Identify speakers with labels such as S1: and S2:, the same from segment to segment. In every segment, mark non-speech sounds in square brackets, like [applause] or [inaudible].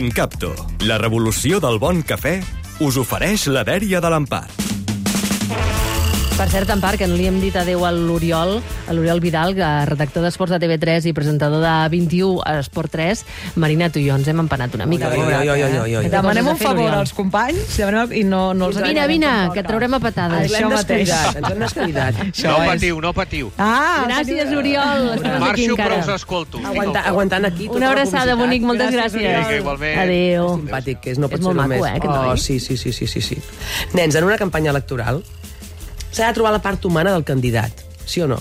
S1: Incapto, la revolució del bon cafè, us ofereix la dèria de l'empart.
S2: Per cert, en part, que no li hem dit adeu a l'Oriol, a l'Oriol Vidal, que redactor d'Esports de TV3 i presentador de 21 a Esport 3. Marina, tu i jo ens hem empanat una mica.
S3: Ui, ui, ui, ui, ui, ui.
S2: Té
S4: Demanem
S2: coses a
S4: un
S2: fer,
S4: favor
S2: l'Oriol.
S4: als companys demanem, i no, no els
S2: Vine,
S4: agradarem
S2: vine,
S4: tampoc,
S2: que et traurem a patades.
S4: Ai,
S3: Ens hem
S4: mateix.
S3: descuidat, ens hem descuidat.
S4: Això
S5: No
S4: és-
S5: patiu, no patiu.
S4: Ah,
S2: Gràcies, Oriol. Estàs aquí
S5: Marxo,
S2: encara.
S5: però us escolto. Estic
S3: Aguanta,
S5: al cor.
S3: aguantant aquí tota
S2: Una
S3: la
S2: abraçada,
S3: publicitat.
S2: bonic, moltes
S4: Gràcies,
S2: gràcies.
S5: Vinga, igualment.
S2: Adéu.
S3: Simpàtic, que és, no
S2: És
S3: pot
S2: molt
S3: ser
S2: maco,
S3: només.
S2: eh, aquest noi.
S3: oh, sí, sí, sí, sí, sí, sí. Nens, en una campanya electoral s'ha de trobar la part humana del candidat, sí o no?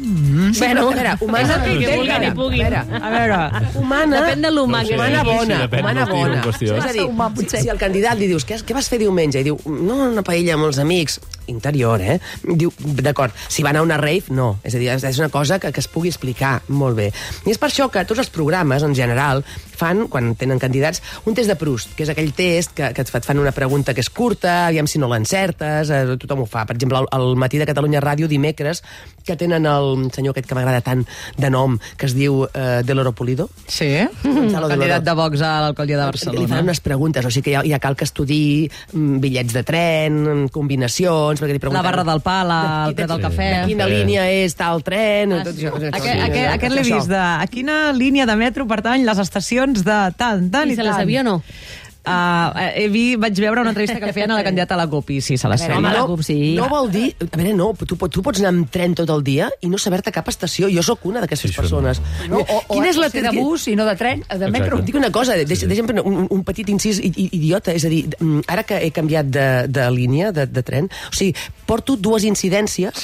S3: Mm. Bueno, era humana,
S2: És el que vulguin i puguin.
S3: Espera,
S4: A veure,
S3: humana,
S2: Depèn de l'humà que
S3: humana
S2: vulguis.
S3: bona,
S6: Sí, depèn,
S3: humana
S6: qüestió,
S3: bona.
S6: qüestió.
S3: És a dir, si, si el candidat li dius, què, què vas fer diumenge? I diu, no, una paella amb els amics. Interior, eh? Diu, d'acord, si va anar a una rave, no. És a dir, és- és una cosa que, que es pugui explicar molt bé. I és per això que tots els programes, en general, fan, quan tenen candidats, un test de Proust, que és aquell test que, que et fa- et fan una pregunta que és curta, aviam si no l'encertes, eh, tothom ho fa. Per exemple, al al matí de Catalunya Ràdio, dimecres, que tenen el senyor aquest que m'agrada tant de nom, que es diu eh, Deloro Pulido,
S4: sí,
S3: Gonzalo
S4: candidat
S3: Delgado.
S4: de Vox a l'alcaldia de
S3: li fan
S4: Barcelona.
S3: unes preguntes, o sigui que ja, ja cal que estudi mm, bitllets de tren, mm, combinacions, perquè li
S4: La
S3: pregunten...
S4: barra del pa, la,
S3: de-
S4: el preu del
S3: de-
S4: cafè... Ah,
S3: de Quina
S6: Sí.
S3: línia és tal tren... Tot això, tot això,
S4: Aquest, aquest, aquest l'he vist de... A quina línia de metro pertany les estacions de tant, tant
S2: I
S4: i,
S2: se
S4: tant?
S2: la sabia o no?
S4: Uh, he vi, vaig veure una entrevista que li feien a la candidata a la CUP i sí, se la
S2: veure,
S4: sabia.
S2: home, la CUP sí.
S3: No vol dir... A veure, no, tu, pot- tu pots anar amb tren tot el dia i no saber-te cap estació. Jo sóc una d'aquestes
S6: Sí, això
S3: persones. No, o,
S7: Quina és la T de bus i no de tren, de metro?
S6: Exacte.
S3: Dic una cosa, deix, deixa'm prendre un, un petit incís i- i- idiota, és a dir, mm, ara que he canviat de, de línia, de, de tren, o sigui, porto dues incidències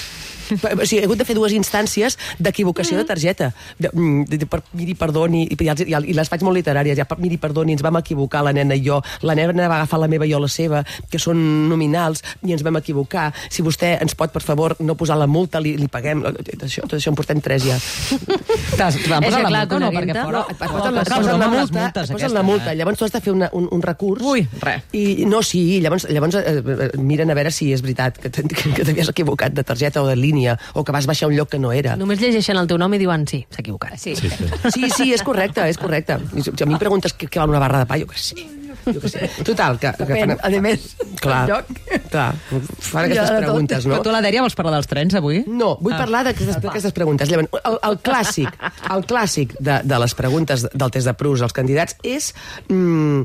S3: [laughs] per- o sigui, he hagut de fer dues instàncies d'equivocació de targeta. De, mm, de, de, per, miri, perdoni, i, ja, els- ja, i les faig molt literàries, ja, per, miri, perdoni, ens vam equivocar la nena i jo, la nena va agafar la meva i jo la seva, que són nominals, i ens vam equivocar. Si vostè ens pot, per favor, no posar la multa, li, li paguem. Tot això, tot això en portem tres ja.
S4: T'has- T'han
S2: És que
S4: posat la
S2: clar,
S4: multa o
S2: que
S4: no?
S2: una
S4: Perquè
S2: guinta-
S3: No,
S4: fora... et
S3: et
S4: posen
S3: posen, la, et
S4: et
S3: posen
S4: posen
S3: la
S4: les
S3: multa,
S4: multes
S3: et posen
S4: aquestes,
S3: la multa.
S4: eh?
S3: Llavors tu has de fer una, un, un recurs.
S4: Ui, re.
S3: I, no, sí, llavors, llavors eh, eh, miren a veure si és veritat que t- que t'havies equivocat de targeta o de línia o que vas baixar a un lloc que no era.
S2: Només llegeixen el teu nom i diuen sí, s'ha equivocat.
S7: Sí.
S6: Sí, sí.
S3: Sí, sí, és correcte, és correcte. I Si si a mi em preguntes què, què val una barra de pa, jo què sé. Jo què sé. Total, que... que
S7: Depèn, a més,
S3: clar,
S7: del lloc.
S3: Clar, fan
S7: Ja,
S3: aquestes
S7: de tot.
S3: preguntes, no?
S4: Però tu, la Dèria, vols parlar dels trens, avui?
S3: No, vull parlar d'aquestes d'aquestes preguntes. Llavors, el, el clàssic, el clàssic de, de les preguntes del test de Proust als candidats és... Mm,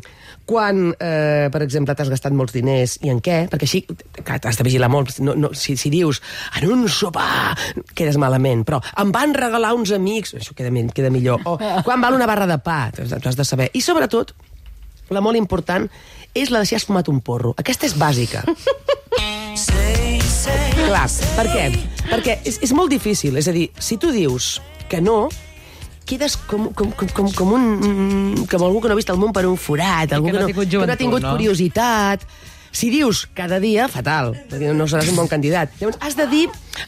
S3: quan, eh, per exemple, t'has gastat molts diners i en què, perquè així clar, t'has de vigilar molt, no, no, si, si dius en un sopar, quedes malament però em van regalar uns amics això queda, mi- queda millor, o quan val una barra de pa, t'ho has de- t'ho has de saber, i sobretot la molt important és la de si has fumat un porro, aquesta és bàsica Clar, per què? Perquè és, és molt difícil, és a dir, si tu dius que no, quedes com, com, com, com, com, un, mm, com algú que no ha vist el món per un forat, algú
S4: que
S3: que,
S4: no ha
S3: no, que
S4: tingut
S3: no
S4: joventut,
S3: ha tingut
S4: no?
S3: curiositat... Si dius cada dia, fatal, perquè no seràs un bon candidat. Llavors, has de dir...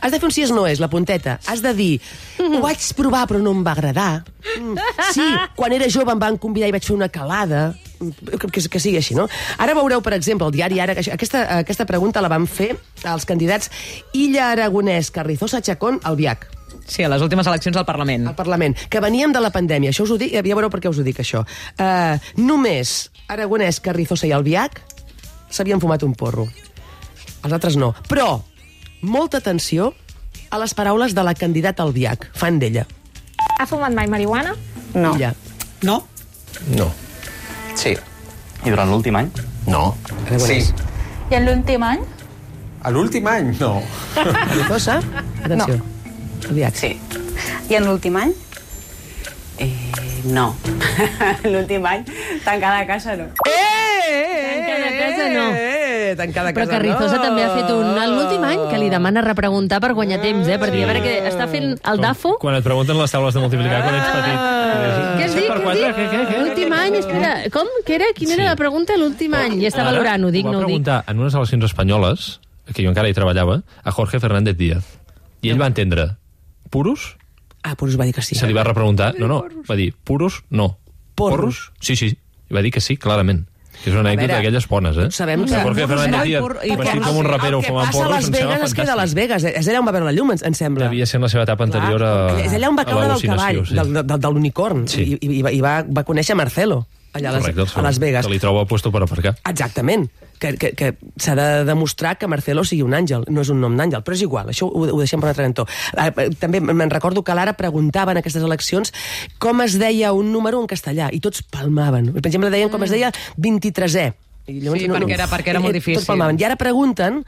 S3: Has de fer un si és no és, la punteta. Has de dir, ho vaig provar però no em va agradar. Mm, Sí, quan era jove em van convidar i vaig fer una calada. Mm, Que, que, que sigui així, no? Ara veureu, per exemple, el diari Ara, que això- aquesta, aquesta pregunta la van fer als candidats Illa Aragonès, Carrizosa, Chacón, Albiach
S4: Sí, a les últimes eleccions al Parlament.
S3: al Parlament, que veníem de la pandèmia. Això us ho dic, eh, ja veureu per què us ho dic, això. Uh, només Aragonès, Carrizosa i Albiach s'havien fumat un porro. Els altres no. Però, molta atenció a les paraules de la candidata Albiach, fan d'ella.
S8: Ha fumat mai marihuana?
S3: No. Ella.
S4: No?
S9: No.
S10: Sí. I durant l'últim any?
S9: No.
S3: Aragonès. Sí.
S8: I en l'últim any?
S9: A l'últim any? No.
S3: Carrizosa, atenció. No. Albiach.
S11: Sí. I en l'últim any? Eh, no. [laughs] l'últim any, tancar la casa no.
S3: Eh, eh,
S2: Tancada a casa, no.
S3: Eh, tancada a
S2: Però
S3: casa,
S2: Carrizosa
S3: no.
S2: també ha fet un... en L'últim any que li demana repreguntar per guanyar temps, eh? Per dir, a veure, que està fent el DAFO... Ah.
S6: Quan et pregunten les taules de multiplicar quan ets petit.
S3: Eh,
S2: Què has dit? Què has dit? L'últim any, espera, com? Què era? Quina era
S6: Sí.
S2: la pregunta? L'últim any. Ja està valorant, ho dic,
S6: va
S2: no ho dic.
S6: preguntar en unes eleccions espanyoles, que jo encara hi treballava, a Jorge Fernández Díaz. I ell va entendre puros,
S3: Ah, però us va dir que sí.
S6: se li va repreguntar, no, no, va dir puros, no.
S3: Porros?
S6: Sí, sí, i va dir que sí, clarament. Que és una anècdota
S3: veure,
S6: d'aquelles bones, eh?
S3: tots sabem que-
S6: que... Jorge Fernández
S4: Ai,
S6: Díaz,
S4: porro- i
S6: vestit
S3: que-
S6: com un rapero
S3: el que
S6: fumant
S3: passa a
S6: porros,
S3: Las
S6: em sembla
S3: Vegas es queda a Las
S6: fantàstic.
S3: Vegas. És allà on va veure la llum, em- em sembla.
S6: Devia ser en la seva etapa anterior a...
S3: És allà on va
S6: a
S3: caure del
S6: l'al·lucinació,
S3: cavall,
S6: sí.
S3: del, del, del, de l'unicorn,
S6: Sí.
S3: i, i, i, va, i va, va conèixer Marcelo. allà a les,
S6: Correcte,
S3: a
S6: el segon,
S3: Las Vegas.
S6: Que li troba el puesto per aparcar.
S3: Exactament, que, que, que s'ha de demostrar que Marcelo sigui un àngel, no és un nom d'àngel, però és igual, això ho, ho deixem per un altre cantó. Eh, eh, També me'n recordo que l'Ara preguntava en aquestes eleccions com es deia un número en castellà, i tots palmaven. Per exemple, deien com es deia 23è. I
S4: Mm. Sí, perquè era- perquè era molt
S3: Eh, eh,
S4: difícil.
S3: Tots palmaven. I ara pregunten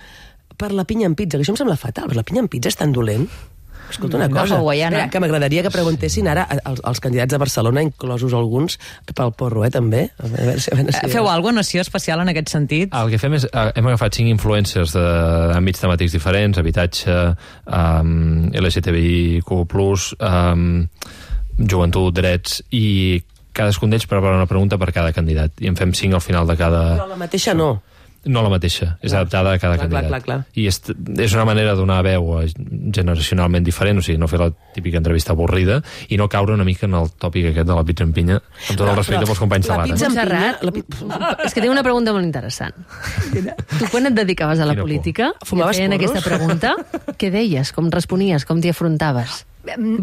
S3: per la pinya en pizza, que això em sembla fatal, però la pinya en pizza és tan dolent. Escolta una
S7: No,
S3: cosa,
S7: hawaiana.
S3: espera, que m'agradaria que preguntessin ara als, als candidats de Barcelona, inclosos alguns, pel porro, eh, també. A veure, si- a veure si...
S4: Eh, Feu alguna nació especial en aquest sentit?
S6: El que fem és, eh, hem agafat cinc influències de- d'àmbits temàtics diferents, habitatge, um, LGTBIQ+, um, joventut, drets, i cadascun d'ells prepara una pregunta per cada candidat. I en fem cinc al final de
S3: Però
S6: cada...
S3: la mateixa no.
S6: No la mateixa, és adaptada a cada
S3: Clar, clar,
S6: candidat.
S3: clar, clar.
S6: I és, és una manera de donar veu a- generacionalment diferent, o sigui, no fer la típica entrevista avorrida i no caure una mica en el tòpic aquest de la pizza en pinya, amb tot el respecte pels companys eh? de
S3: La
S6: l'Anna.
S2: Doncs
S3: pizza amb pinya...
S2: Montserrat.
S3: La pi...
S2: És que té una pregunta molt interessant. Tu quan et dedicaves a la
S6: Quina por.
S2: política,
S3: Fumaves
S2: en
S3: porros?
S2: aquesta pregunta, què deies, com responies, com t'hi afrontaves?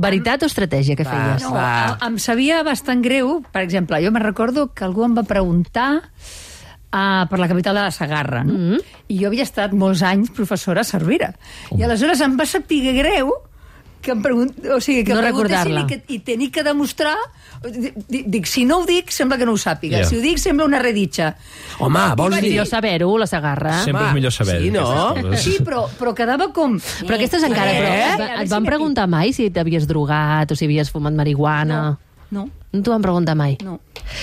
S2: Veritat o estratègia que
S3: Ah,
S2: feies?
S7: No, ah,
S3: Va.
S7: a- Oh, em sabia bastant greu, per exemple, jo me'n recordo que algú em va preguntar Uh, per la capital de la Sagarra. No? Mm -hmm. I jo havia estat molts anys professora a Cervera. I aleshores em va saber greu que em pregunt... o sigui, que
S2: No
S7: em preguntessin
S2: recordar-la.
S7: i, que, i tenir que demostrar... Di- di- Dic, si no ho dic, sembla que no ho
S6: Ja.
S7: sàpiga. Yeah. Si ho dic, sembla una reditxa.
S3: Home, vols
S2: És
S3: dir...
S2: millor saber-ho, la Sagarra.
S6: Sempre és millor saber.
S3: sí, no?
S6: aquestes coses.
S7: Sí, però, però quedava com...
S2: Però aquestes encara... Però
S7: Eh?
S2: et, va, et van preguntar mai si t'havies drogat o si havies fumat marihuana?
S7: No,
S2: No t'ho van preguntar mai.
S7: no.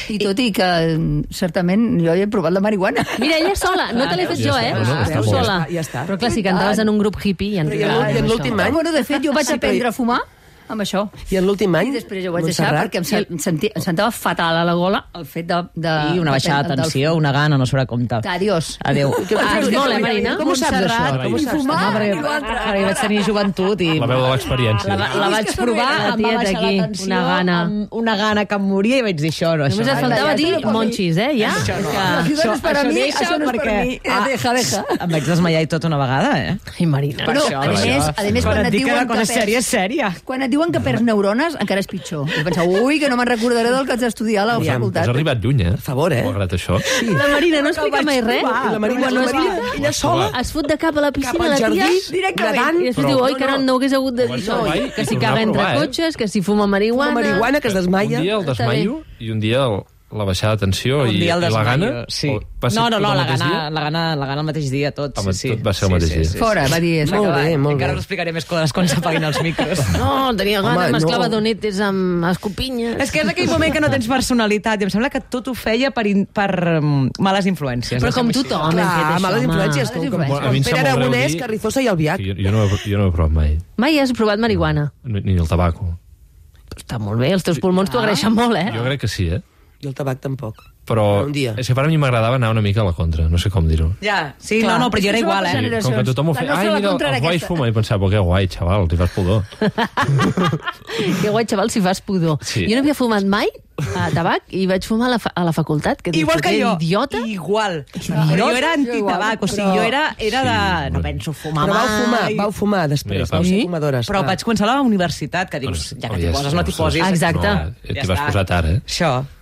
S7: I tot i que, mm, certament, jo he provat la marihuana.
S2: Mira, ella és sola, no te l'he fet
S6: Ja
S2: jo,
S6: està,
S2: eh?
S6: no, no, està
S2: Tu
S6: molt bé.
S2: sola.
S3: Ja està.
S2: Però clar, si cantaves en un grup hippie... Ja
S3: Però i en l'últim- i en l'últim
S7: Ah,
S3: any?
S7: bueno, de fet, jo vaig
S3: Sí, però-
S7: aprendre a fumar amb això.
S3: I en l'últim any,
S7: I després jo ho vaig deixar
S3: Montserrat?
S7: perquè em, sen- em, sentia, em sentava fatal a la gola el fet de... de
S4: I una baixada de
S7: del-
S4: tensió, una gana, no sabrà compte.
S7: Adiós.
S4: Adéu.
S2: Ah, és molt, eh, Marina?
S3: Com ho saps, això? Com ho
S7: I
S3: saps?
S7: fumar
S4: No, perquè,
S7: i l'altre.
S4: perquè vaig tenir joventut i...
S6: La veu de l'experiència.
S4: La, la vaig provar,
S2: Ah, La
S4: em va
S2: tieta
S4: baixar la
S2: aquí,
S4: tensió,
S2: una gana.
S4: amb una gana que em moria i vaig dir això, no, això.
S2: Només et
S4: no.
S2: faltava
S7: ja,
S2: dir
S7: ja, ja.
S2: monxis, eh, ja?
S7: Això no és per a mi, això no és per a mi.
S3: Ah.
S7: Eh, deja, deja.
S4: Em vaig desmaiar i tot una vegada, eh?
S2: Ai, Marina.
S7: Però, a més, a més, quan
S4: et
S7: et
S4: dic que la
S7: diuen
S4: cosa
S7: que
S4: és sèria,
S7: perds-
S4: és sèria.
S7: quan et diuen que perds neurones, encara és pitjor. I penseu, ui, que no me'n recordaré del que haig d'estudiar a la
S3: Aviam,
S6: Has
S7: facultat.
S6: arribat lluny, eh? Per
S3: favor, eh?
S6: Malgrat això.
S2: La Marina no explica mai res.
S3: I la Marina, la Marina, ella sola,
S2: Es fot de cap a la piscina,
S3: cap al
S2: la tia...
S3: jardí,
S7: directament.
S3: nedant,
S2: I després diu, oi,
S3: no,
S2: que no,
S3: no.
S2: no ho hagués hagut de dir.
S6: Comença a provar i-
S2: que
S6: i
S2: si
S6: tornar
S2: caga
S6: a
S2: entre
S6: provar, eh?
S2: cotxes, que si fuma marihuana...
S3: La marihuana que es desmaia.
S6: Un dia el
S2: Està
S6: desmaio i un dia el, la baixada de tensió i, i la gana.
S4: Sí.
S6: o va ser
S4: No, no,
S6: tot
S4: no,
S6: el
S4: la
S6: mateix
S4: gana,
S6: dia?
S4: la gana, la gana el mateix dia, tot.
S6: Home,
S4: sí, sí.
S6: tot va ser el
S4: Sí,
S6: mateix
S4: sí,
S6: dia.
S4: sí,
S7: Fora,
S4: sí,
S7: va dir, s'ha
S3: Molt bé,
S7: acabat.
S3: molt
S4: Encara
S3: bé.
S4: us explicaré més coses quan s'apaguin els micros.
S2: No, tenia
S3: Home,
S2: ganes,
S3: no.
S2: mesclava donetes amb escopinyes.
S4: És que és aquell moment que no tens personalitat i em sembla que tot ho feia per, in, per um, males influències.
S2: Però com
S4: deixa'm així.
S2: tothom hem fet
S3: Clar,
S2: això,
S3: males
S2: home.
S3: influències, com, com,
S6: A mi
S3: com Pere
S6: em sap molt greu
S3: Aragonès,
S6: dir-
S3: Carrizosa i el Biach.
S6: Jo, jo, no, he- jo no he provat mai,
S2: Mai has provat marihuana.
S6: ni, ni el tabaco.
S2: Està molt bé, els teus pulmons t'ho agraeixen molt, eh?
S6: Jo crec que sí, eh?
S3: I el tabac tampoc.
S6: Però
S3: Un dia.
S6: és que per a mi m'agradava anar una mica a la contra, no sé com dir-ho.
S4: Ja, sí, no, no, però jo era igual, eh?
S6: Com que tothom ho feia... Ai, mira, els guais fuma i pensava, però que guai, xaval, li fas
S4: [laughs]
S6: pudor.
S2: [laughs] Que guai, xaval, si fas pudor.
S6: Sí.
S2: Jo no havia fumat mai a tabac i vaig fumar a la, fa a la facultat. Que dius,
S4: Igual que
S2: "Que
S4: jo.
S2: Idiota.
S4: Igual. Però jo era antitabac, o sigui, jo era, era de... No penso fumar
S3: Però vau fumar,
S4: mai.
S3: vau fumar
S6: Mira,
S3: després,
S6: Pau.
S3: vau ser
S6: Sí?
S3: fumadores.
S4: Però
S3: clar.
S6: oh,
S4: vaig començar a la universitat, que dius, ja que t'hi poses, no t'hi posis.
S2: Exacte.
S6: No, T'hi vas
S4: està.
S6: posar tard, eh?
S4: Això.